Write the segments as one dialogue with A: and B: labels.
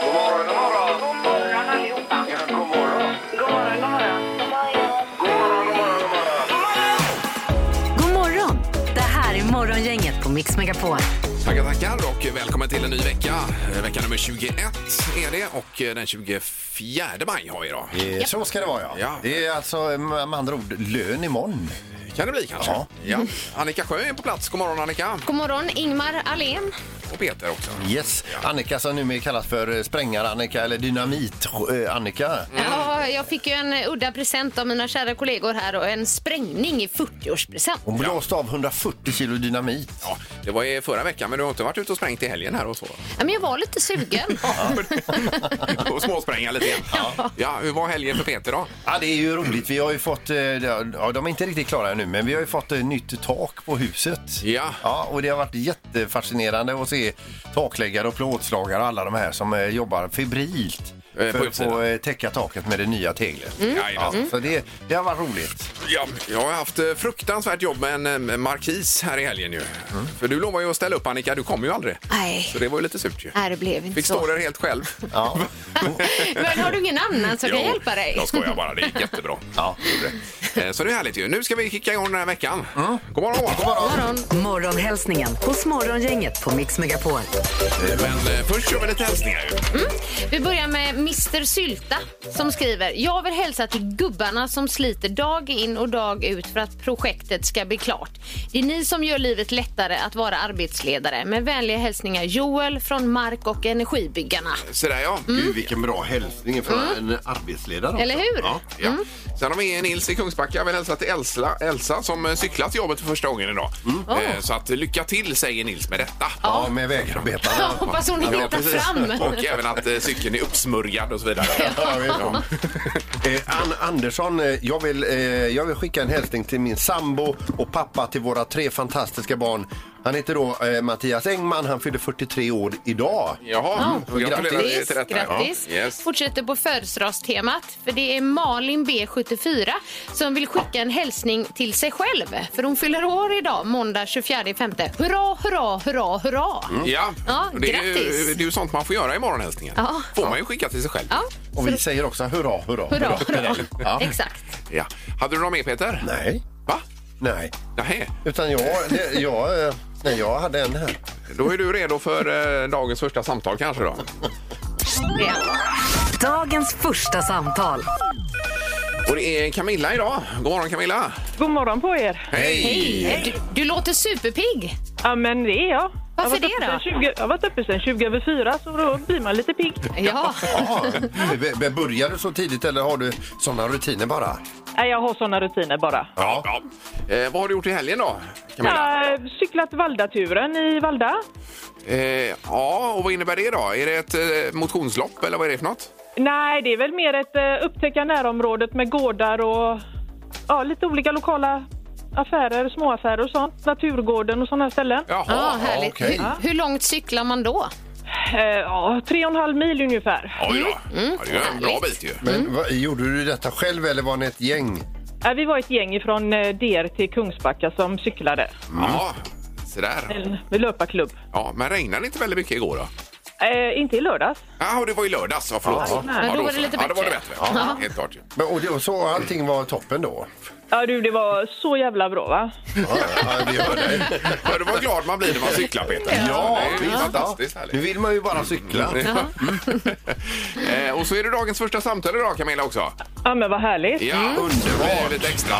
A: God morgon, god morgon.
B: God morgon allihopa.
A: Ja, god morgon.
B: God morgon, god morgon.
A: God morgon, god morgon, god morgon.
C: God morgon! Det här är Morgongänget på Mix Megapol.
D: Tackar, tackar och välkommen till en ny vecka. Eh, Vecka nummer 21 är det och eh, den 24 maj har vi idag.
E: Eh, Så ska det vara ja.
D: Ja.
E: Det är alltså eh, med andra ord lön imorgon.
D: Kan det bli kanske?
E: Ja.
D: Ja. Annika Sjö är på plats. God morgon Annika.
F: God morgon, Ingmar Ahlén.
D: Och Peter också.
E: Yes. Annika som numera kallas för eh, sprängar-Annika eller eh, dynamit-Annika.
F: Ja, jag fick ju en eh, udda present av mina kära kollegor här och en sprängning i 40-årspresent.
E: Hon blåste av 140 kilo dynamit.
D: Ja, det var i förra veckan men du har inte varit ute och sprängt i helgen här och så?
F: Ja, men jag var lite sugen.
D: och småspränga lite grann. Ja. hur var helgen för Peter då?
E: Ja, det är ju roligt. Vi har ju fått, eh, ja, de är inte riktigt klara nu, men vi har ju fått eh, nytt tak på huset.
D: Ja.
E: ja och det har varit jättefascinerande att se takläggare och plåtslagare och alla de här som eh, jobbar febrilt.
D: Eh, på
E: För att
D: utsidan. Mm.
E: få eh, täcka taket med det nya teglet.
D: Jajamän.
E: Ja, så det, det har varit roligt.
D: Ja, jag har haft eh, fruktansvärt jobb med en eh, markis här i helgen ju. För du lovade ju att ställa upp Annika, du kom ju aldrig.
F: Nej,
D: Så det var ju lite surt ju.
F: nej, det blev inte
D: Fick stå
F: Äh, så.
D: där helt själv.
E: Ja.
F: Men har du ingen annan som kan
D: Jo,
F: hjälpa dig?
D: Jag skojar bara, det gick jättebra.
E: Ja.
D: Eh, Så det är härligt ju. Nu ska vi kicka igång den här veckan. God morgon, god morgon.
F: God morgon.
C: Morgonhälsningen hos Morgongänget på Mix Megapol.
D: Eh, Men eh, först kör vi lite hälsningar ju.
F: Vi börjar med Mr Sylta som skriver. Jag vill hälsa till gubbarna som sliter dag in och dag ut för att projektet ska bli klart. Det är ni som gör livet lättare att vara arbetsledare. Med vänliga hälsningar Joel från Mark och Energibyggarna.
D: Sådär ja.
F: Mm.
G: Gud, vilken bra hälsning för en arbetsledare. också.
F: Eller hur?
D: Ja, ja.
F: Mm.
D: Sen har vi Nils i Kungsbacka. Jag vill hälsa till Elsa, Elsa som eh, cyklat till jobbet för första gången idag. Eh, Så att eh, lycka till säger Nils med detta.
E: ja, med vägarbetarna.
F: Ja, hoppas hon
D: Ja,
F: hittar
D: precis.
F: fram.
D: Och även att eh, cykeln är uppsmörjad och så vidare. Ja.
G: Eh, Ann Andersson, eh, jag vill, eh, jag vill skicka en hälsning till min sambo och pappa till våra tre fantastiska barn. Han heter då eh, Mattias Engman, han fyllde 43 år idag.
D: Jaha,
F: Ja.
D: gratulerar vi
F: Grattis!
D: till detta.
F: grattis.
D: Ja. Yes.
F: Fortsätter på födelsedagstemat. För det är Malin B74 som vill skicka en hälsning till sig själv. För hon fyller år idag, måndag 24 femte. Hurra, hurra, hurra, hurra!
D: Ja,
F: Ja,
D: det, är ju,
F: grattis.
D: det är ju sånt man får göra i morgonhälsningen.
F: Ja.
D: får man ju skicka till sig själv.
F: Ja,
E: Och vi säger också hurra, hurra.
F: hurra, hurra.
E: Ja.
F: Exakt.
D: Ja. Hade du något mer Peter?
E: Nej,
D: Va?
E: nej.
D: Nej.
E: Utan jag, det, jag, eh, nej, jag hade en här.
D: Då är du redo för eh, dagens första samtal kanske då.
F: Ja.
C: Dagens första samtal.
D: Och det är Camilla idag. God morgon Camilla!
H: God morgon på er.
D: Hej!
F: Du, du låter superpigg.
H: Ja, men det är jag.
F: Varför
H: jag har varit
F: det
H: uppe
F: då?
H: sen 20, jag har varit uppe sen 20 över 4, så då blir man lite pigg.
F: Ja.
G: Ah,
E: Ja, b- b- börjar du så tidigt eller har du såna rutiner bara?
H: Nej, jag har såna rutiner bara.
D: Ja. Eh, vad har du gjort i helgen då?
H: Jag
D: Camilla?
H: har eh, cyklat Valdaturen i Valda.
D: Ja. Eh, ja, och vad innebär det då? Är det ett eh, motionslopp eller vad är det för något?
H: Nej, det är väl mer ett eh, upptäcka närområdet med gårdar och ja, lite olika lokala affärer, småaffärer och sånt. Naturgården och sådana här ställen.
D: Jaha,
F: Ja, härligt.
E: okej.
F: hur, hur långt cyklar man då?
H: Eh, Ja, tre och en halv mil ungefär.
D: Oj då.
F: Mm.
D: Ja, det är ju en bra bit ju.
E: Men vad, gjorde du detta själv eller var ni ett gäng?
H: Eh, Vi var ett gäng eh, från DR till Kungsbacka som cyklade.
D: Ja, så där.
H: En löparklubb.
D: Ja, men regnade det inte väldigt mycket igår då?
H: Eh, inte i lördags.
D: Ja, och det var i lördags. Ja, förlåt. Ja,
F: Men då var det
D: så.
F: lite
D: Ja, då var det
F: bättre.
D: bättre. Ja, helt klart. ju.
E: Men, och, det, och så allting var toppen då?
H: Ja du, det var så jävla bra va?
E: Ja, ja, vi hör dig.
D: Hör du vad glad man blir när man cyklar, Peter?
E: Ja,
D: det är ju fantastiskt
E: Nu
D: härligt. Mm.
E: vill man ju bara cykla.
D: Eh, och så är det dagens första samtal idag, Camilla, också.
H: Ja men vad härligt.
D: Ja,
F: Mm.
D: underbart. Lite extra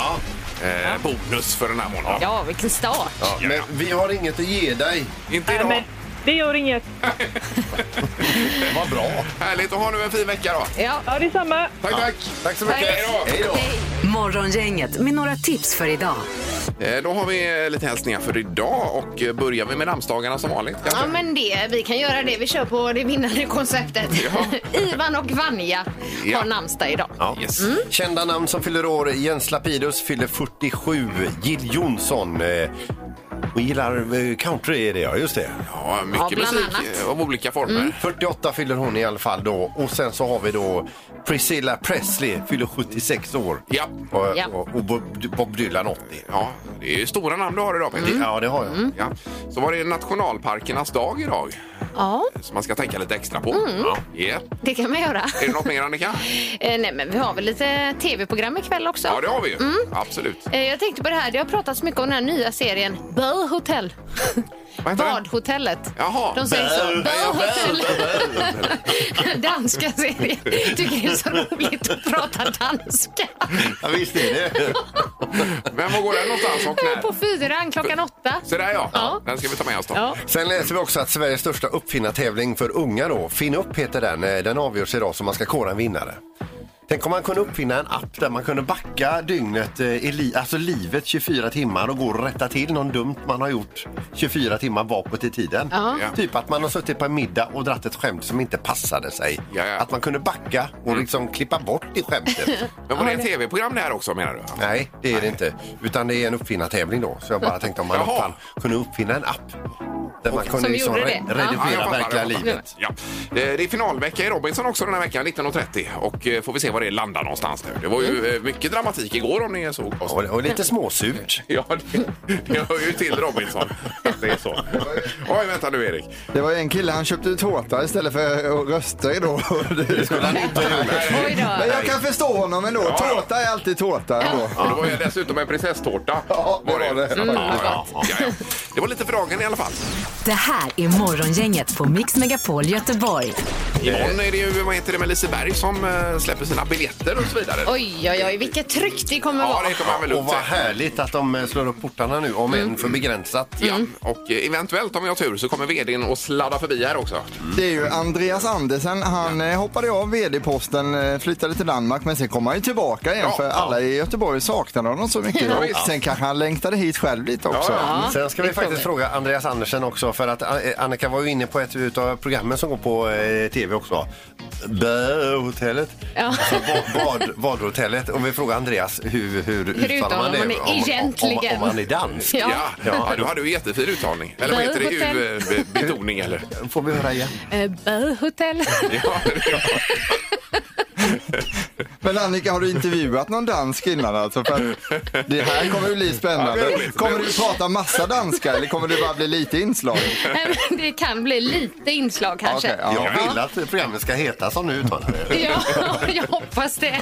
D: eh, bonus för den här månaden.
F: Ja, vilken start.
E: Men vi har inget att ge dig.
D: Inte
H: Nej,
D: idag.
H: men det gör inget.
E: Vad bra.
D: Härligt att ha nu en fin vecka då.
F: Ja.
H: Ja, detsamma.
D: Tack, tack.
E: Tack så mycket.
D: Hej då.
E: Hej då.
C: Morgongänget med några tips för idag.
D: Eh, Då har vi eh, lite hälsningar för idag och eh, börjar vi med namnsdagarna som vanligt. kanske?
F: Ja, men det, vi kan göra det. Vi kör på det vinnande konceptet. Ivan och Vanja
D: Ja.
F: har namnsdag idag.
D: Yes.
E: Kända namn som fyller år. Jens Lapidus fyller 47. Jill Johnson. Eh, och gillar eh, country är det ja, just det.
D: Ja,
F: Ja, bland
D: mycket musik
F: annat. Mm.
D: eh, av olika former.
E: 48 fyller hon i alla fall då. Och sen så har vi då Priscilla Presley fyller 76 år.
D: Ja.
E: Och,
F: Ja.
E: och, och Bob, Bob Dylan 80.
D: Ja,
F: Mm.
D: det är ju stora namn du har idag, Peter.
E: Ja, det har jag.
D: Ja. Så var det nationalparkernas dag idag.
F: Ja,
D: som man ska tänka lite extra på.
F: Mm.
D: Ja. Yeah.
F: det kan man göra.
D: Är det något mer Annika?
F: Eh, nej, men vi har väl lite tv-program ikväll också.
D: Ja, det har vi ju. Absolut.
F: Eh, Jag tänkte på det här, det har pratats mycket om den här nya serien Böll Hotel.
D: Vad heter den?
F: Badhotellet.
D: Jaha.
F: De säger så. Böll Hotel. Danska serien. Tycker det är så roligt att prata danska.
E: Ja, visst är det.
D: Men var går den någonstans och när?
F: På fyran klockan åtta.
D: Så där ja.
F: Ja.
D: Den ska vi ta med oss då.
F: Ja.
E: Sen läser vi också att Sveriges största uppfinnartävling för unga då, Finn upp heter den, Eh, den avgörs idag så man ska kåra en vinnare. Tänk om man kunde uppfinna en app där man kunde backa dygnet, eh, i li- alltså livet 24 timmar och gå och rätta till någon dumt man har gjort 24 timmar bakåt i tiden.
F: Ja.
D: Ja.
E: Typ att man har suttit på en middag och dratt ett skämt som inte passade sig.
D: Ja, ja. Mm.
E: Att man kunde backa och liksom klippa bort det skämtet.
D: Men var det ett tv-program det här också menar du?
E: Nej, det är det inte. Utan det är en uppfinnartävling då. Så jag bara tänkte om man
D: Jaha.
E: uppfann, kunde uppfinna en app. Där man kunde
F: Som
E: liksom
F: gjorde
E: re-
F: det.
D: Ja, jag
E: redigera
D: fattar,
E: verkliga
D: jag fattar.
E: livet.
D: Ja. Eh, Det är finalvecka i Robinson också den här veckan, 19.30. Och eh, får vi se var det landar någonstans nu. Det var
F: Mm.
D: ju eh, mycket dramatik igår om ni såg oss.
E: Och, och lite småsurt.
D: Ja, det, det hör ju till Robinson att det är så. Oj, vänta nu Erik.
I: Det var en kille, han köpte tårta istället för att rösta i då. Det skulle han inte
F: Oj då.
I: Men jag kan förstå honom ändå.
D: Ja, ja.
I: Tårta är alltid tårta ändå.
D: Och det var ju dessutom en prinsesstårta.
I: Ja, det var det.
D: Så att, ja, ja, ja, ja. Det var lite för dagen i alla fall.
C: Det här är Morgongänget på Mix Megapol Göteborg.
D: Imorgon är det ju, vad heter det, med Liseberg som eh, släpper sina biljetter och så vidare.
F: Oj, oj, oj, vilket tryck det kommer
D: Ja,
F: vara.
D: det kommer han väl
E: Och
D: upp
E: vad
D: till.
E: härligt att de eh, slår upp portarna nu, om än för begränsat.
D: Ja, och eh, eventuellt om jag har tur så kommer vdn att sladda förbi här också.
I: Det är ju Andreas Andersen. Han eh, hoppade av vd-posten, eh, flyttade till Danmark men sen kom han ju tillbaka igen
D: Ja,
I: för
D: ja.
I: alla i Göteborg saknade honom så mycket. Och
D: visst.
I: sen kanske han längtade hit själv lite också.
F: Ja,
E: Sen ska
F: det
E: vi faktiskt
F: tror
E: fråga Andreas Andersen också för att eh, Annika var ju inne på ett av programmen som går på eh, tv också. Bö-hotellet.
F: Ja.
E: Alltså ba- bad, badhotellet. Och vi frågar Andreas hur, hur,
F: uttalar man det egentligen?
E: Om, om, om han är dansk.
F: Ja.
D: Ja, ja du hade ju jättefin uttalning. Eller vad heter det?
F: Hotell.
D: U- eh, be- betoning eller?
I: Får vi höra igen.
F: jag. Eh, Böhotell.
D: Ja, ja.
I: Men Annika, har du intervjuat någon dansk innan alltså? För att det här kommer ju bli
D: Ja, det
I: spännande.
D: är roligt.
I: Kommer du prata massa danska eller kommer det bara bli lite inslag?
F: Nej, men det kan bli lite inslag kanske.
I: Okej, ja.
E: Jag vill att programmet ska heta som nu uttalar det.
F: ja. jag hoppas det.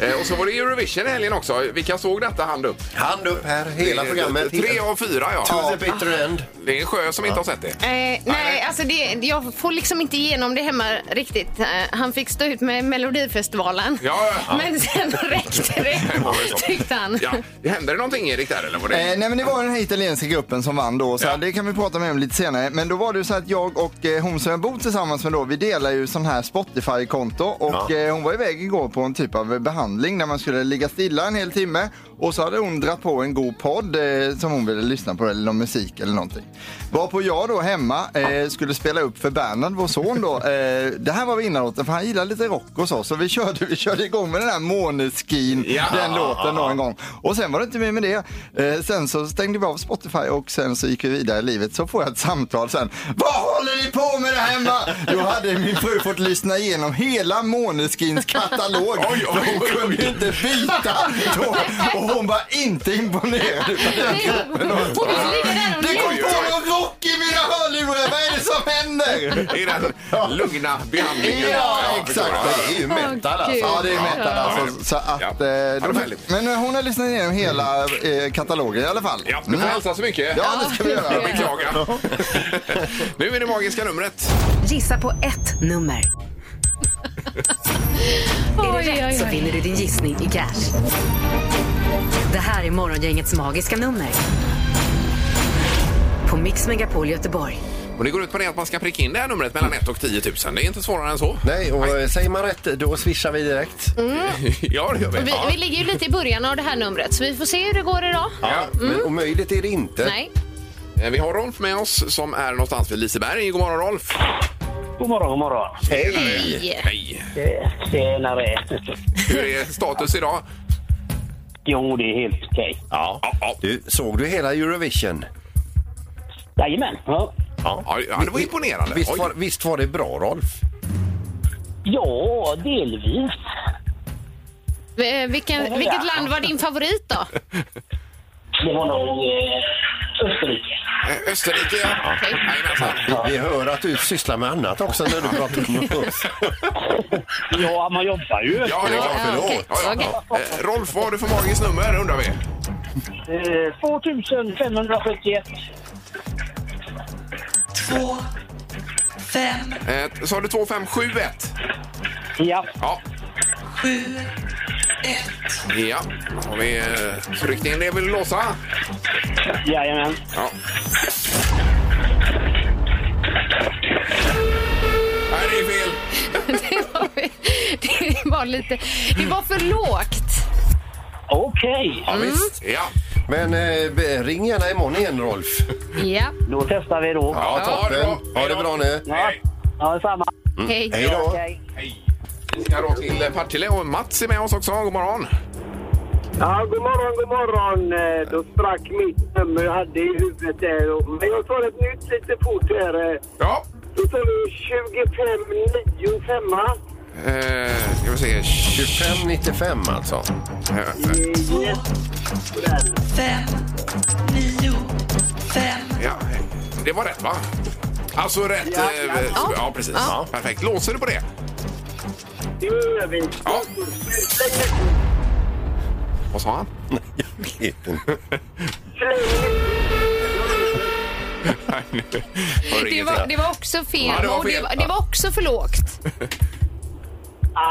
D: Eh, Och så var det Eurovision i helgen också. Vilka såg detta hand upp?
E: Hand upp här, hela
D: Eh,
E: programmet.
D: Tre av fyra,
E: To
D: ja.
E: the bitter end.
D: Det är en sjö som inte har sett det.
F: Eh, nej, alltså det, jag får liksom inte igenom det hemma riktigt. Eh, han fick stå ut med Melodifestivalen.
D: Ja, ja.
F: Men sen räckte det,
D: var väl så.
F: tyckte han.
D: Ja. Hände det någonting Erik där eller? Var det?
I: Eh, nej men det var den här italienska gruppen som vann då, så
D: Ja.
I: det kan vi prata mer om lite senare. Men då var det ju så att jag och eh, hon som jag bor tillsammans med då, vi delar ju sån här Spotify-konto och eh, hon var iväg igår på en typ av behandling där man skulle ligga stilla en hel timme och så hade hon dragit på en god podd eh, som hon ville lyssna på eller någon musik eller någonting. Varpå jag då hemma eh, skulle spela upp för Bernhard, vår son då. Eh, det här var vinnarlåten för han gillar lite rock och så, så vi körde, vi körde igång med den här Måneskin,
D: Ja.
I: den låten någon gång. Och sen var det inte mer med det. Eh, sen så stängde vi av Spotify och sen så gick vi vidare i livet. Så får jag ett samtal sen. Vad håller ni på med där hemma? Då hade min fru fått lyssna igenom hela Måneskins katalog.
D: Oj, oj, oj,
I: Hon kunde
D: oj.
I: ju inte byta. Då, och hon var inte imponerad. utav den
F: Nej,
I: gruppen.
F: Hon vill ligga där och
I: Det kom
D: oj,
F: njuta.
D: oj.
I: på någon rock i mina hörlurar. Vad är det som händer?
D: I den lugna behandlingen.
I: Ja,
D: jag förstår.
I: exakt.
E: Det är ju metal
F: Gud.
E: alltså.
I: Ja, det är metal alltså. Så
D: Ja.
I: att,
D: Ja,
I: eh,
D: det var härligt.
I: men eh, hon har lyssnat igenom hela eh, katalogen i alla fall. Mm.
D: Ja, du får
E: Mm.
D: hälsa så mycket.
I: Ja, det ska vi göra.
D: Jag beklagar. nu är det magiska numret.
C: Gissa på ett nummer. Är
F: Oj,
C: det
F: oj,
C: rätt så
F: oj.
C: vinner du din gissning i cash. Det här är Morgongängets magiska nummer. På Mix Megapol Göteborg.
D: Och det går ut på det att man ska pricka in det här numret mellan 1 och 10 000. Det är inte svårare än så.
E: Nej, och eh, säger man rätt då swishar vi direkt.
F: Mm.
D: ja, det gör vi.
F: Vi,
D: Ja.
F: vi ligger ju lite i början av det här numret, så vi får se hur det går idag.
E: Ja, men omöjligt är det inte.
F: Mm. Nej.
D: Eh, Vi har Rolf med oss som är någonstans vid Liseberg. God morgon Rolf!
A: God morgon, god morgon.
E: Hej!
D: Hej!
A: Eh, Tjenare.
D: Hur är status idag?
A: Jo, det är helt okej.
E: Ja. Du, såg du hela Eurovision?
A: Jajamän. Ja.
D: Ja, ja, det var imponerande.
E: Visst
D: Oj.
E: var, visst var det bra, Rolf?
A: ja, delvis.
F: Eh, Vilken, vilket land var din favorit då?
A: Det var nog eh, Österrike.
D: Eh, Österrike, ja.
F: Okej.
D: Jajamensan.
E: Vi, vi hör att du sysslar med annat också när du pratar med oss.
A: Ja, man jobbar ju.
D: Ja, det är klart.
F: Ja, ja, okej.
D: Ja, ja. Eh, Rolf, vad har du för magiskt nummer undrar vi?
A: Eh, 2571.
D: Eh, Så har du 2571?
A: Ja,
D: Ja. 7 1 Ja, då har vi eh, tryckt in det vill låsa.
A: jajamän.
D: Ja. Nej, det är fel.
F: Det var, det var lite... Det var för lågt.
A: Okej,
D: Ja, visst.
F: Mm.
D: Ja.
E: Men eh, be- ring gärna imorgon igen Rolf.
F: Ja,
A: då testar vi då.
E: Ja,
D: ha det
E: toppen.
D: bra.
E: Ha det bra nu.
A: Ja, ja detsamma.
D: Mm.
F: hej.
E: Hej då.
A: Okej.
D: Vi ska då till eh, Partille och Mats är med oss också. God morgon.
A: Ja, god morgon, god morgon. Eh, Då sprack mitt nummer jag hade i huvudet där. Och- Men jag tar ett nytt lite fort här. eh.
D: Ja.
A: Då tar vi 2595.
D: Eh, ska vi se.
E: 2595 alltså.
D: Eh,
A: Yes. Sådär.
D: Ja, det var rätt va? Alltså rätt... Ja, ja. precis.
F: Ja.
D: Perfekt. Låser du på det?
A: Det gör vi.
D: Ja.
A: Släng-
D: Vad sa han?
E: Jag vet inte.
A: släng-
D: Nej, nu var det
F: Det
D: ingenting.
F: var, det var också fel.
D: Ja, det var
F: och
D: fel.
F: Det, var, det var också för lågt.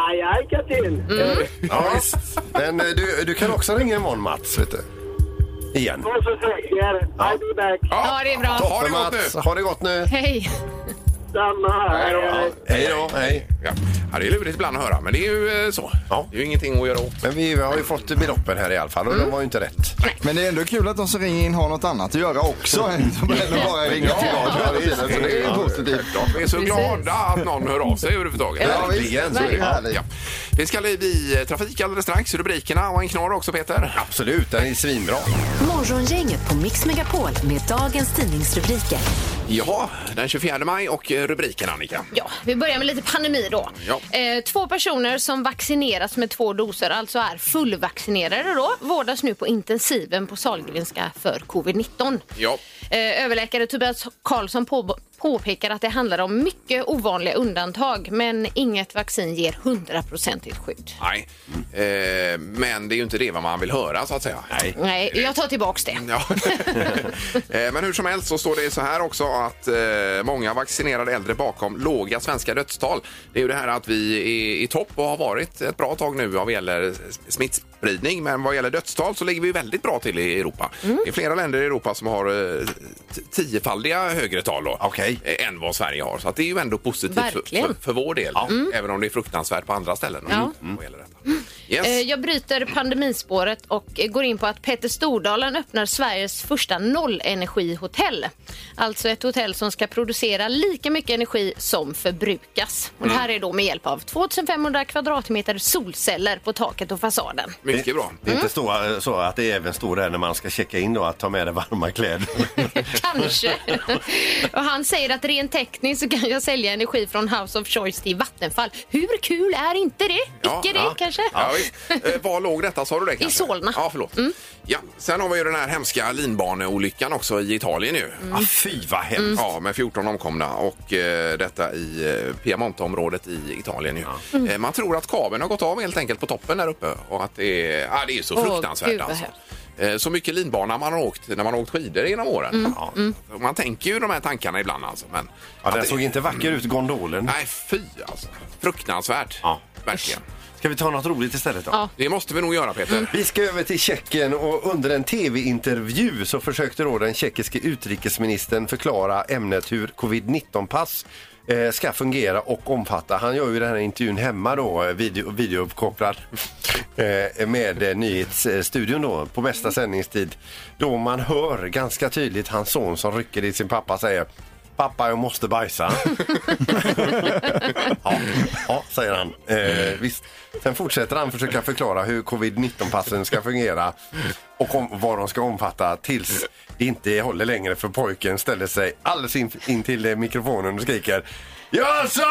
A: Aj, aj, Katin.
J: Mm.
E: Ja, visst. Men eh, du, du kan också ringa imorgon Mats. Vet du. Igen.
A: Var så säker. I'll be back.
F: Ja, det är bra.
D: Ha det gott
E: Mats,
D: nu!
E: ha det gott nu.
F: Hej.
A: Samma här.
D: Ja,
E: Hej då. Hej.
D: ja. ja, det är lurigt ibland att höra, men det är ju eh, så.
E: Ja.
D: Det är ju ingenting att göra åt.
E: Men vi har ju fått beloppen här i alla fall och de var ju inte rätt.
I: Men det är ändå kul att de som ringer in har något annat att göra också än att bara ringa till radion hela tiden. Så det är ju positivt.
D: Vi är så
F: Precis.
D: glada att någon hör av sig överhuvudtaget.
I: Ja, visst.
E: Verkligen,
I: Så är det ju
D: Ja.
I: härligt.
D: Ja. Vi ska i eh, trafik alldeles strax. Rubrikerna och en knorr också, Peter.
E: Absolut, den är svinbra.
C: Morgongänget på Mix Megapol med dagens tidningsrubriker.
D: Ja, den 24 maj och eh, rubriken, Annika.
F: Ja, vi börjar med lite pandemi då.
D: Ja.
F: Eh, två personer som vaccinerats med två doser, alltså är fullvaccinerade då, vårdas nu på intensiven på Sahlgrenska för covid-19.
D: Ja.
F: Eh, överläkare Tobias Karlsson på, påpekar att det handlar om mycket ovanliga undantag, men inget vaccin ger hundraprocentigt skydd.
D: Nej, eh, men det är ju inte det vad man vill höra, så att säga. Nej.
F: Nej, jag tar tillbaks det.
D: Ja. Eh, Men hur som helst så står det så här också att eh, många vaccinerade äldre bakom låga svenska dödstal. Det är ju det här att vi är i topp och har varit ett bra tag nu vad gäller smittspridning. Men vad gäller dödstal så ligger vi väldigt bra till i Europa.
F: Mm.
D: Det är flera länder i Europa som har eh, t- tiofaldiga högre tal då,
E: Okej.
D: eh, än vad Sverige har. Så att det är ju ändå positivt för,
F: Verkligen. Mm.
D: för, för vår del. Även om det är fruktansvärt på andra ställen.
F: Ja.
D: Vad gäller detta. Yes.
F: Eh, Jag bryter pandemispåret och eh, går in på att Petter Stordalen öppnar Sveriges första nollenergihotell. Alltså ett hotell som ska producera lika mycket energi som förbrukas. Och det här
D: Mm.
F: är då med hjälp av 2500 kvadratmeter solceller på taket och fasaden.
D: Mycket bra.
E: Det är inte stå, så att det även står där när man ska checka in då att ta med dig varma kläder.
F: Kanske. och han säger att rent tekniskt så kan jag sälja energi från House of Choice till Vattenfall. Hur kul är inte det?
D: Ja,
F: Icke det
D: ja.
F: kanske?
D: Ja, visst. Eh, var låg detta? Sa du det kanske?
F: Solna. Mm.
D: Ja, förlåt. Ja, sen har vi ju den här hemska linbaneolyckan också i Italien nu.
F: Mm.
E: Ah, fy vad hemskt.
D: Ja, med 14 omkomna och eh, detta i eh, Piemonte-området i Italien. Ju. Eh, man tror att kabeln har gått av helt enkelt på toppen där uppe och att det är, ah, det är ju så
F: Åh,
D: fruktansvärt
F: gud, vad
D: alltså. Eh, Så mycket linbana man har åkt när man har åkt skidor genom åren.
F: Mm.
D: Ja.
E: Mm.
D: Man tänker ju de här tankarna ibland alltså. Men
E: Ja,
D: att
E: den
D: det-
E: såg inte vacker ut, gondolen.
D: Nej, fy alltså. Fruktansvärt.
E: Ja.
D: Verkligen.
E: Ska vi ta något roligt istället då?
F: Ja.
D: Det måste vi nog göra Peter.
E: Vi ska över till Tjeckien och under en tv-intervju så försökte då den tjeckiske utrikesministern förklara ämnet hur covid-19-pass eh, ska fungera och omfatta. Han gör ju den här intervjun hemma då, eh, video, videouppkopplad eh, med eh, nyhetsstudion då på bästa sändningstid. Då man hör ganska tydligt hans son som rycker i sin pappa säger Pappa, jag måste bajsa. Ja, ja säger han. Eh, visst. Sen fortsätter han försöka förklara hur covid-19-passen ska fungera och om, vad de ska omfatta tills det inte håller längre för pojken ställer sig alldeles in, in till eh, mikrofonen och skriker jag sa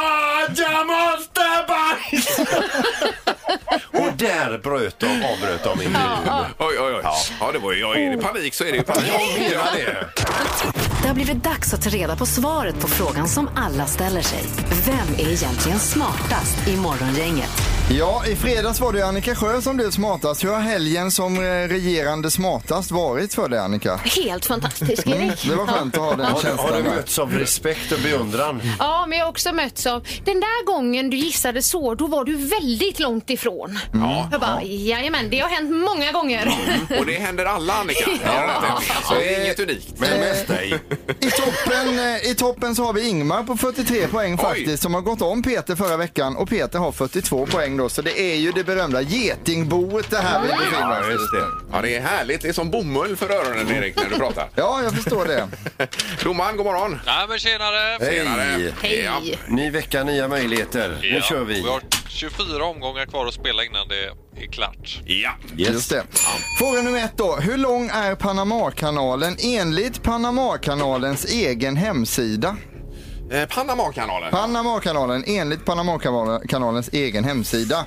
E: att jag måste bajsa! och där bröt de, avbröt de intervjun.
D: Oj, oj, oj. Ja. det var ju, ja, är det panik så är det ju panik.
E: Ja, det.
C: Det har blivit dags att ta reda på svaret på frågan som alla ställer sig. Vem är egentligen smartast i Morgongänget?
I: Ja, i fredags var det Annika Sjö som blev smartast. Hur har helgen som eh, regerande smartast varit för dig Annika?
F: Helt fantastisk,
D: Mm,
F: Erik.
I: Det var skönt att ha den
E: Har, har du
I: känslan.
E: mötts av respekt och beundran?
F: Ja, men jag har också mötts av den där gången du gissade så, då var du väldigt långt ifrån.
D: Mm.
F: Jag bara, jajamän, det har hänt många gånger.
D: Och det händer alla Annika. Ja. Så det är inget unikt.
E: Men mest dig.
I: I toppen, eh, I toppen så har vi Ingmar på 43 poäng faktiskt som har gått om Peter förra veckan och Peter har 42 poäng då så det är ju det berömda getingboet det här vi befinner oss i.
D: Ja, det är härligt. Det är som bomull för öronen Erik när du pratar.
I: Ja, jag förstår det.
D: Domaren, god morgon.
J: Nej men tjenare!
E: Hej!
F: Hej.
D: Ja.
E: Ny vecka, nya möjligheter. Nu kör vi.
J: Vi har 24 omgångar kvar att spela innan det är klart.
D: Ja.
I: Just det. Fråga nummer ett då. Hur lång är Panamakanalen enligt Panamakanalens egen hemsida?
D: Eh, Panamakanalen.
I: Panamakanalen enligt Panamakanalens egen hemsida.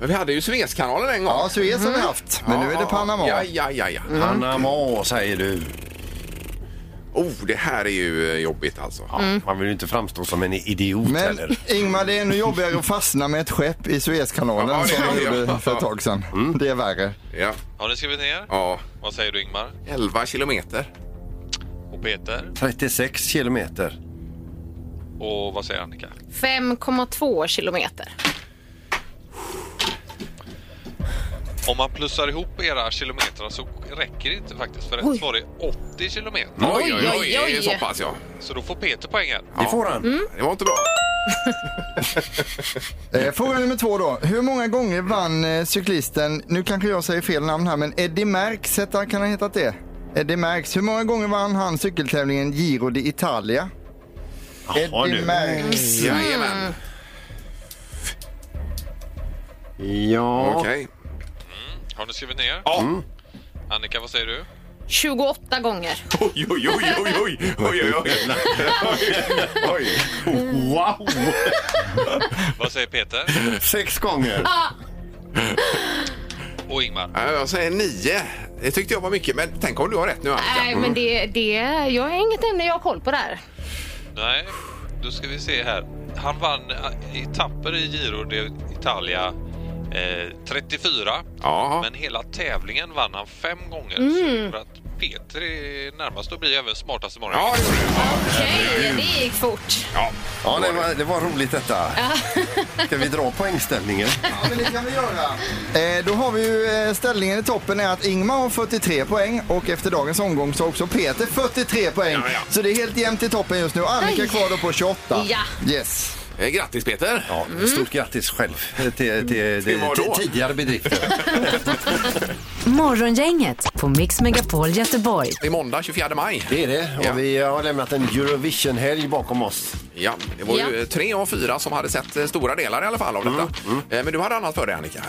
D: Vi hade ju Suezkanalen en gång.
I: Ja, Suez har vi haft, men nu är det Panama.
D: Mhm. Ja, ja, ja. ja.
E: Panama, säger du.
D: Oh, det här är ju eh, jobbigt alltså.
E: Ja, Man vill ju inte framstå som en idiot
I: Men
E: heller.
I: Ingmar, det är ännu jobbigare att fastna med ett skepp i
D: Ja,
I: Suezkanalen
D: det
I: som
D: är
I: vi
D: det. Mm.
I: gjorde för ett tag sedan. Det är värre.
D: Ja.
J: Har ni skrivit ner?
D: ja.
J: Vad säger du Ingmar?
D: 11 kilometer.
J: Och Peter?
E: 36 kilometer.
J: Och vad säger Annika?
F: 5,2 kilometer.
J: Om man plussar ihop era kilometrar så räcker det inte faktiskt. För rätt svar är 80 kilometer.
D: Oj, oj, oj.
F: oj,
D: Det är
F: oj.
D: så pass, ja.
J: Så då får Peter poäng här.
E: Det får han.
D: Det var inte bra.
I: Eh, fråga nummer två då. Hur många gånger vann eh, cyklisten, nu kanske jag säger fel namn här, men Eddie Merckx, hette- kan han hetat det? Eddie Merckx, hur måga gånger vann han cykeltävlingen Giro d'Italia?
E: Jaha,
I: Eddie
E: nu.
I: Merckx.
F: Mm.
D: Jajamän.
E: Ja,
D: Okej.
J: Har ni skrivit ner?
D: Ja.
J: Annika, vad säger du?
F: 28 gånger.
D: Oj, oj, oj, oj, oj, oj, oj, oj. oj.
E: wow!
J: Vad säger Peter?
E: Sex gånger.
J: Och Ingmar?
D: Ja, Jag säger nio. Det tyckte jag var mycket, men tänk om du har rätt nu Annika.
F: Nej, men det, det, jag har inget ämne jag har koll på där.
J: Nej, då ska vi se här. Han vann eh, etapper i Giro d'Italia eh, 34.
D: Ja.
J: Men hela tävlingen vann han fem gånger. Så för att Peter är närmast och blir även smartast imorgon.
D: Ja, det gjorde du.
F: Okej, det gick fort.
D: Ja.
E: Ja, det var, det var roligt detta. Ska vi dra poängställningen?
I: Ja, men det kan vi göra. Eh, då har vi ju eh, ställningen i toppen är att Ingmar har 43 poäng och efter dagens omgång så har också Peter 43 poäng.
D: Ja, ja.
I: Så det är helt jämnt i toppen just nu. Annika
F: Aj.
I: kvar då på 28.
F: Ja.
I: Yes.
D: Eh, Grattis Peter!
E: Ja, stort grattis själv till, till, till,
D: Till vad då?
E: till tidigare bedrifter.
C: Morgongänget på Mix Megapol Göteborg.
D: Det är måndag 24 maj.
E: Det är det. Och
D: Ja.
E: vi har lämnat en Eurovision-helg bakom oss.
D: Ja, det var ju
F: Ja.
D: eh, tre av fyra som hade sett eh, stora delar i alla fall av detta. Eh, Men du hade annat för dig Annika.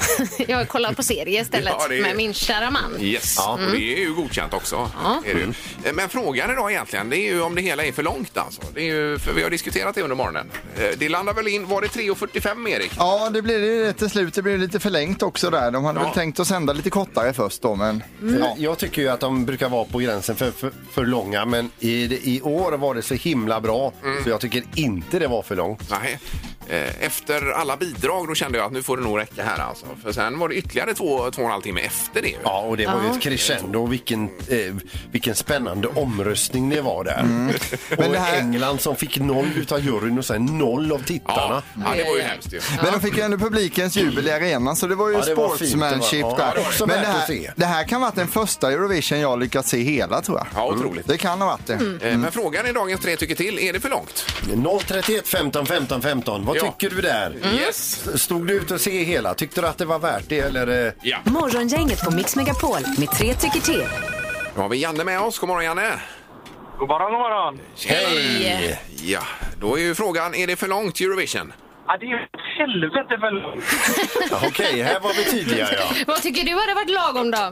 F: Jag kollar på serier istället
D: Ja, det är-
F: med min kära man.
D: Yes, och det är ju godkänt också. Är det. ju. Eh, Men frågan idag egentligen, det är ju om det hela är för långt alltså. Det är ju, för vi har diskuterat det under morgonen. Eh, Det landar väl in, var det 3.45 Erik?
I: Ja, det blir det ju till slut. Det blir lite förlängt också där. De hade
D: Ja.
I: väl tänkt att sända lite kortare först då, men... Ja.
E: Jag tycker ju att de brukar vara på gränsen för, för, för långa, men i, i år var det så himla bra så jag tycker inte det var för långt.
D: Nej. Eh, Efter alla bidrag då kände jag att nu får det nog räcka här alltså. För sen var det ytterligare två, två och en halv timme efter det. ju.
E: Ja, och det var ju ett crescendo. Vilken, eh, vilken spännande omröstning det var där.
I: Men
E: och
I: det här-
E: England som fick noll utav juryn och sen noll av tittarna.
D: Ja, ja, det var ju hemskt ju.
I: Men de fick ju ändå publikens jubel i arenan så det var ju
E: Ja, det var fint, det var-
I: sportsmanship
E: ja,
I: där.
E: det var också
I: men
E: värt
I: det
E: att se.
I: här, det här kan vara den första Eurovision jag lyckats se hela tror jag.
D: Ja, otroligt.
I: Det kan ha varit det.
F: Mm.
D: Eh, Men frågan i dagens tre tycker till, är det för långt?
E: 031 15 15 15. Vad
D: Ja. Mm.
E: tycker du där?
D: Yes.
E: Stod du ut och se hela? Tyckte du att det var värt det eller? eh,
D: Ja.
C: Morgongänget på Mix Megapol med tre tycker till.
D: Nu har vi Janne med oss. God morgon Janne!
K: God morgon, god morgon.
D: Hej! Ja, då är ju frågan, är det för långt Eurovision?
A: Ja, det är ju ett helvete för långt.
E: Okej, här var vi tydliga ja.
F: Vad tycker du hade varit lagom då?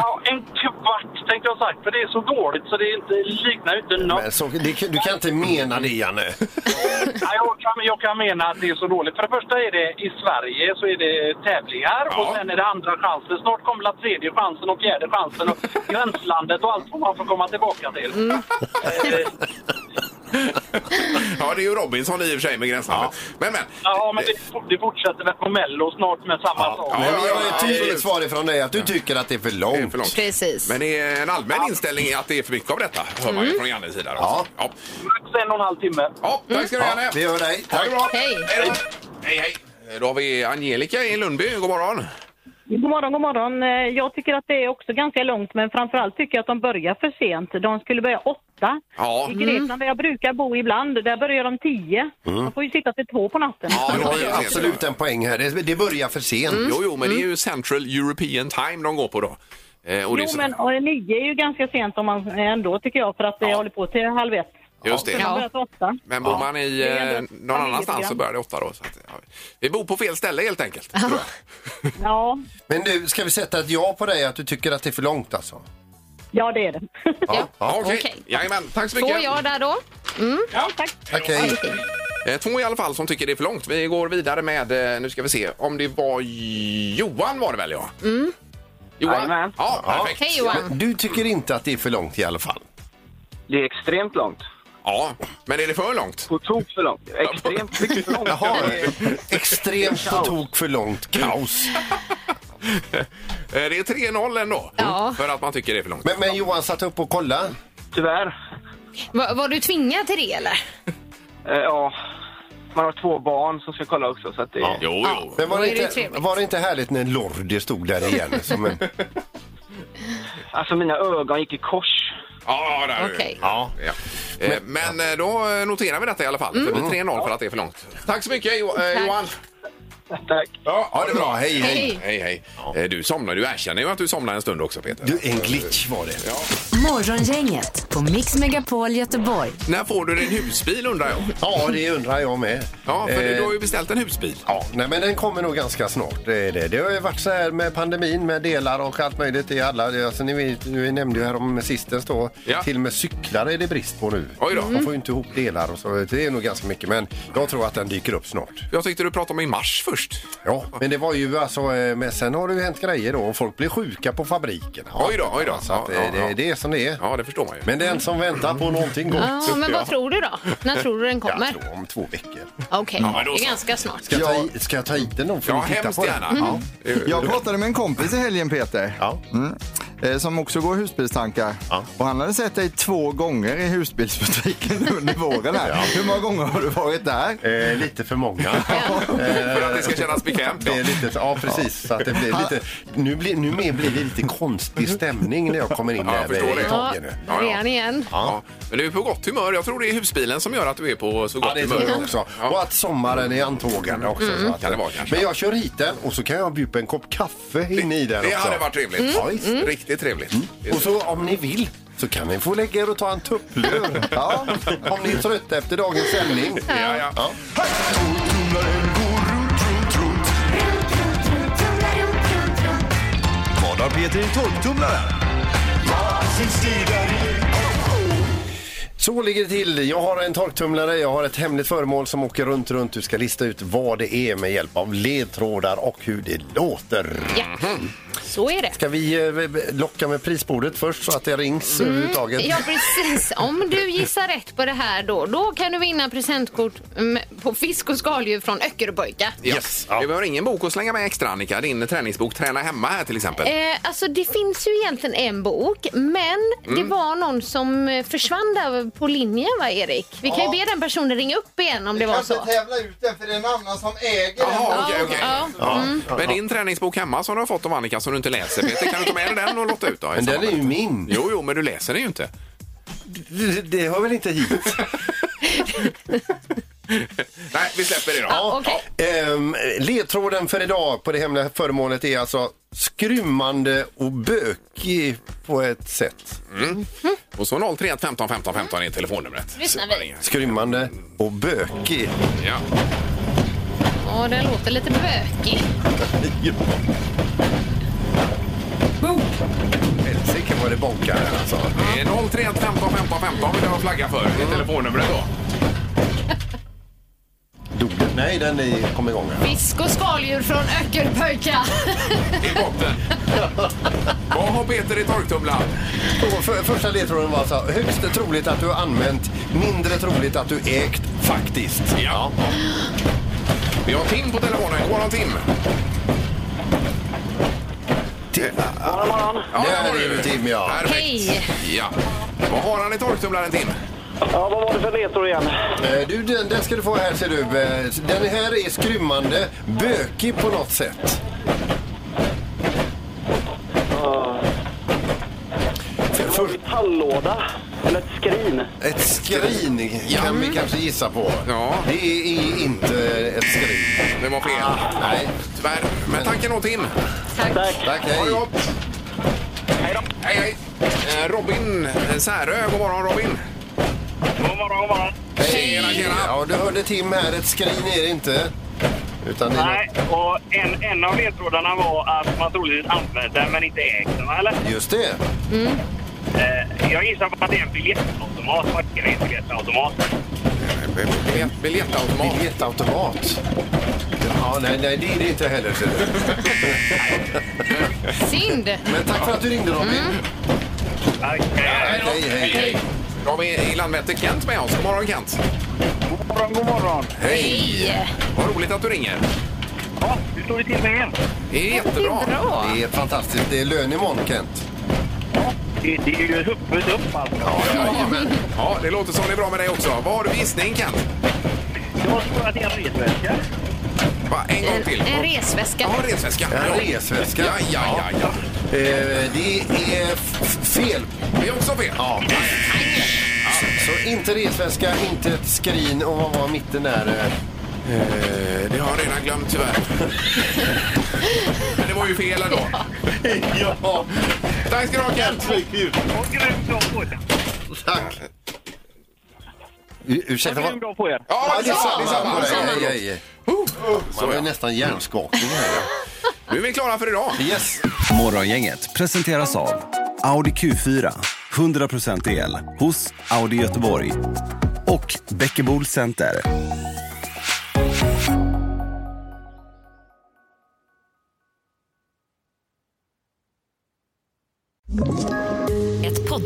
A: Ja, en kvart tänkte jag sagt, för det är så dåligt så det är inte, liknar ju inte något.
E: Men så, det, du kan inte mena det Janne.
A: Ja, jag, kan, jag kan mena att det är så dåligt. För det första är det i Sverige så är det tävlingar
D: Ja.
A: och sen är det andra chansen. Snart kommer la tredje chansen och fjärde chansen och gränslandet och allt vad man får komma tillbaka till. Eh,
D: Ja, det är ju Robinson i och för sig med gränslandet. Men, men.
A: Ja, men det, det fortsätter väl på Mello snart med samma sak.
E: Nej, men jag har ett
D: ja,
E: tydligt
D: absolut.
E: svar ifrån dig att du tycker att det är för
D: Det är
E: långt.
D: för långt.
F: Precis.
D: Men det är en allmän inställning är att det är för mycket av detta, hör man ju från Jannes sida. också. Ja.
A: Max en och en halv timme.
D: ja, tack ska du ha, Janne.
E: Ja, vi hör dig.
D: Ha det bra.
F: Hej.
D: Hej, då. hej. hej. Då har vi Angelica i Lundby. God morgon.
H: God morgon, god morgon. Eh, Jag tycker att det är också ganska långt, men framförallt tycker jag att de börjar för sent. De skulle börja åtta.
D: Ja.
H: I Grekland, där jag brukar bo ibland, där börjar de tio. De får ju sitta till två på natten.
D: Mm. Ja,
E: Du
D: det
E: har ju
D: är det.
E: absolut en poäng här. Det, det börjar för sent.
F: Mm.
D: Jo, jo, men det är ju Central European Time de går på då. Eh, och det är
H: Jo,
D: så-
H: men och nio är ju ganska sent om man eh, ändå, tycker jag, för att det
D: Ja.
H: håller på till halv ett.
D: Just det.
H: De börjar till åtta.
D: Men bor man i
H: Det är
D: eh,
H: ändå ett
D: någon annanstans så
H: familjeprogram.
D: börjar det åtta då. Så att, ja. Vi bor på fel ställe helt enkelt. Tror jag.
H: Ja,
E: Men nu ska vi sätta ett ja på dig att du tycker att det är för långt alltså?
H: ja det är det.
E: Ja.
D: Ja, Okej,
F: Okej.
D: jajamän. Tack så mycket.
F: Får jag där då?
E: Tack, hej.
D: Eh, Två i alla fall som tycker det är för långt. Vi går vidare med, eh, nu ska vi se, om det var Johan var det väl ja? Johan?
A: Jajamän.
D: Ja, perfekt.
F: Hej Johan.
E: Men du tycker inte att det är för långt i alla fall?
A: Det är extremt långt.
D: Ja, men är det för långt?
A: På tok för långt. Extremt mycket för långt.
E: Jaha, extremt på tok för långt kaos.
D: Eh, Det är 3-0 ändå.
F: Ja.
D: För att man tycker det är för långt.
E: Men, men Johan satt upp och kolla.
A: Tyvärr.
F: Var, var du tvingad till det eller?
A: Eh, ja. Man har två barn som ska kolla också så att det är...
D: Jo, jo.
E: Men var
F: Då
E: det,
F: är det ju
E: inte,
F: trevligt.
E: var det inte härligt när Lordi stod där igen? Som en,
A: Alltså mina ögon gick i kors.
D: Ja, där är det.
F: Okej.
E: ja.
D: Ja. Eh, Men eh, då eh, noterar vi detta i alla fall. För det blir 3-0 för att det är för långt. Tack så mycket Jo- eh,
F: Tack.
D: Johan.
A: Tack.
E: ja, ha det bra. Hej, hej.
F: Hej.
D: Hej, hej. Eh, Du somnade, du erkänner ju att du somnade en stund också Peter.
E: Du, en glitch var det.
C: Morgongänget på Mix Megapol Göteborg.
D: När får du din husbil undrar jag?
E: Ja, det undrar jag med.
D: Ja, för du
E: Eh,
D: har ju beställt en husbil.
E: Ja, nej, men den kommer nog ganska snart. Det, är det. det har ju varit så här med pandemin med delar och allt möjligt i alla. Alltså, ni, vet, ni nämnde ju här om sistens då.
D: Ja.
E: Till och med cyklar är det brist på nu.
D: Oj då.
E: Man får ju inte ihop delar och så. Det är nog ganska mycket. Men jag tror att den dyker upp snart.
D: Jag tyckte du pratade om i mars först.
E: Ja, men det var ju alltså, eh, men sen har det ju hänt grejer då och folk blir sjuka på fabrikerna.
D: Oj då, oj då.
E: Så att,
D: Ja,
E: eh,
D: ja, ja.
E: det, det är som det är.
D: Ja, det förstår man ju.
E: Men den som väntar på någonting gott.
F: Ja, men vad tror du då? När tror du den
E: Jag
F: kommer?
E: tror om två veckor.
F: Okej,
D: men då
F: det
D: så.
F: är ganska snart.
E: Ska jag ta, i- ska jag ta hit den då? Får
D: Ja,
E: vi titta
D: hemskt
E: på den?
D: gärna.
E: Ja.
I: Jag pratade med en kompis i helgen Peter.
E: Ja.
I: Mm. Eh, Som också går husbilstankar.
E: Ja.
I: Och han hade sett dig två gånger i husbilsbutiken under våren här. Hur många gånger har du varit där?
E: Eh, lite för många.
D: För att det ska kännas bekvämt.
E: Det är
D: Ja.
E: lite, ja, precis. Så att det blir lite, nu blir, numera blir det lite konstig stämning när jag kommer in
D: Ja, jag
E: där
D: förstår
E: i
D: det.
F: Ja,
E: taget nu.
D: ja.
F: redan igen.
D: Ja. Men du är på gott humör. Jag tror det är husbilen som gör att du är på så gott
E: Ja, det
D: humör.
E: tror jag också. Och att sommaren är antågande också. Så att,
D: Kan det vara kanske.
E: Men jag kör hit den och så kan jag bjuda på en kopp kaffe inne i den
D: Det
E: också.
D: hade varit trevligt.
E: Mm. Ja, visst. Mm.
D: Riktigt trevligt.
E: Och så om ni vill så kan ni få lägga er och ta en tupplur. Ja, om ni är trötta efter dagens sändning.
D: Ja, ja.
E: Ja.
L: Vad har Peter i tolvtumlaren?
E: Så ligger det till. Jag har en torktumlare, jag har ett hemligt föremål som åker runt, runt. Du ska lista ut vad det är med hjälp av ledtrådar och hur det låter.
F: Ja, så är det.
E: Ska vi eh, locka med prisbordet först så att det rings överhuvudtaget?
F: Mm. Ja, precis. Om du gissar rätt på det här då, då kan du vinna presentkort mm, på fisk och skaldjur från Öckeröböjka.
D: Yes.
E: Ja.
D: Vi behöver ingen bok att slänga med extra, Annika. Din träningsbok Träna hemma här till exempel.
F: Eh, alltså det finns ju egentligen en bok, men
D: Mm.
F: det var någon som eh, försvann där på linjen va Erik? Vi kan ju be den personen ringa upp igen om det var så.
I: tävla ut den för det är en annan som äger
D: Jaha, okej, okej.
F: Ja.
D: Men din träningsbok hemma som du har fått av Annika som du inte läser, Peter, kan du ta med dig den och låta ut då?
E: Men den är ju min.
D: Jo, jo, men du läser den ju inte.
E: Det- Det hör väl inte hit?
D: Nej, vi släpper det då.
F: Ja, okej.
E: Ehm, ledtråden för idag på det hemliga föremålet är alltså skrymmande och bökig på ett sätt.
D: Och så 031 15 15 15 är telefonnumret.
F: Lyssnar vi.
E: Skrymmande och bökig.
D: Ja.
F: Ja, den låter lite bökig.
E: Helsike vad det bonkar här alltså.
D: Det är 031 15 15 15 vill jag flagga för. Det är telefonnumret då.
E: Dog den? Nej, den är- kom igång här.
F: Fisk och skaldjur från Öckerpöjka.
D: I botten. Vad har Peter i torktumlaren?
E: Och för, första ledtråden var så här, högst troligt att du har använt, mindre troligt att du ägt, faktiskt.
D: Ja. Vi har Tim på telefonen. God morgon Tim.
J: God morgon.
D: Ja,
E: Där
D: har
E: är
D: du.
E: ju Tim, ja.
D: Perfekt.
F: Hej.
D: Ja. Vad har han i torktumlaren Tim?
J: Ja, vad var det för ledtråd igen?
E: Eh, Du, den, den ska du få här ser du. Eh, Den här är skrymmande, bökig på något sätt. För, för,
J: Metalllåda. Eller ett skrin.
E: ett skrin kan vi kanske gissa på.
D: Ja.
E: Det är inte ett skrin.
D: Det var fel.
E: Ah, nej.
D: Tyvärr. Men tack ändå Tim.
E: Tack, hej.
D: Ha det gott. Hej då. Hej, hej. Eh, Robin Särö. God morgon Robin.
J: God morgon, god morgon.
E: Hej.
D: Tjena, tjena.
E: Ja, du hörde Tim här. Ett skrin är det inte. Utan det är
J: Nej, och en, en av ledtrådarna var att man troligtvis använt den men inte ägt den, va, eller?
E: något- Just det.
J: Eh, jag gissar på att det är en biljettautomat. Vad är en biljettautomat?
D: Biljett, biljettautomat.
E: Biljettautomat. Ja, nej, nej, det är det inte heller. ser du.
F: Synd.
E: Men tack för att du ringde, Robin.
J: Tack.
D: Hej då.
E: Hej, hej, hej.
D: Då har vi i Landvetter Kent med oss. God morgon Kent.
J: God morgon, god morgon.
F: Hej.
D: Vad roligt att du ringer.
J: Ja, hur står det till med er?
D: Det är jättebra.
F: Bra.
E: Det är fantastiskt. Det är lön imorgon, Kent.
J: Det, det är ju huppet upp alltså.
D: Jajamän. Ja, det låter som det är bra med dig också. Vad har du för gissning Kent?
J: Jag tror att det är en resväska.
D: Va, en gång till.
F: En, en resväska.
D: Ja, en resväska.
E: En
D: Ja.
E: resväska.
D: Ja, ja, ja, ja.
E: Eh, det är f- fel.
D: Det är också fel.
E: Ja. Så inte resväska, inte ett skrin och vad var mitten där? Eh,
D: Eh, Det har jag redan glömt tyvärr. Men det var ju fel ändå.
E: ja,
D: Tack ska du ha Kent.
J: Och grymt bra på er.
E: tack. U- ursäkta,
J: Grymt
E: vad...
J: bra på er.
D: Ja, det är samma. Det är samma. Det är samma.
E: Aj, aj, aj.
D: Oh,
E: Man
D: Så
E: var ju
D: ja.
E: nästan hjärnskakning här.
D: Nu är vi klara för idag.
E: Yes.
M: Morgongänget presenteras av Audi Q4, 100% el hos Audi Göteborg och Bäckebol Center.
C: Ett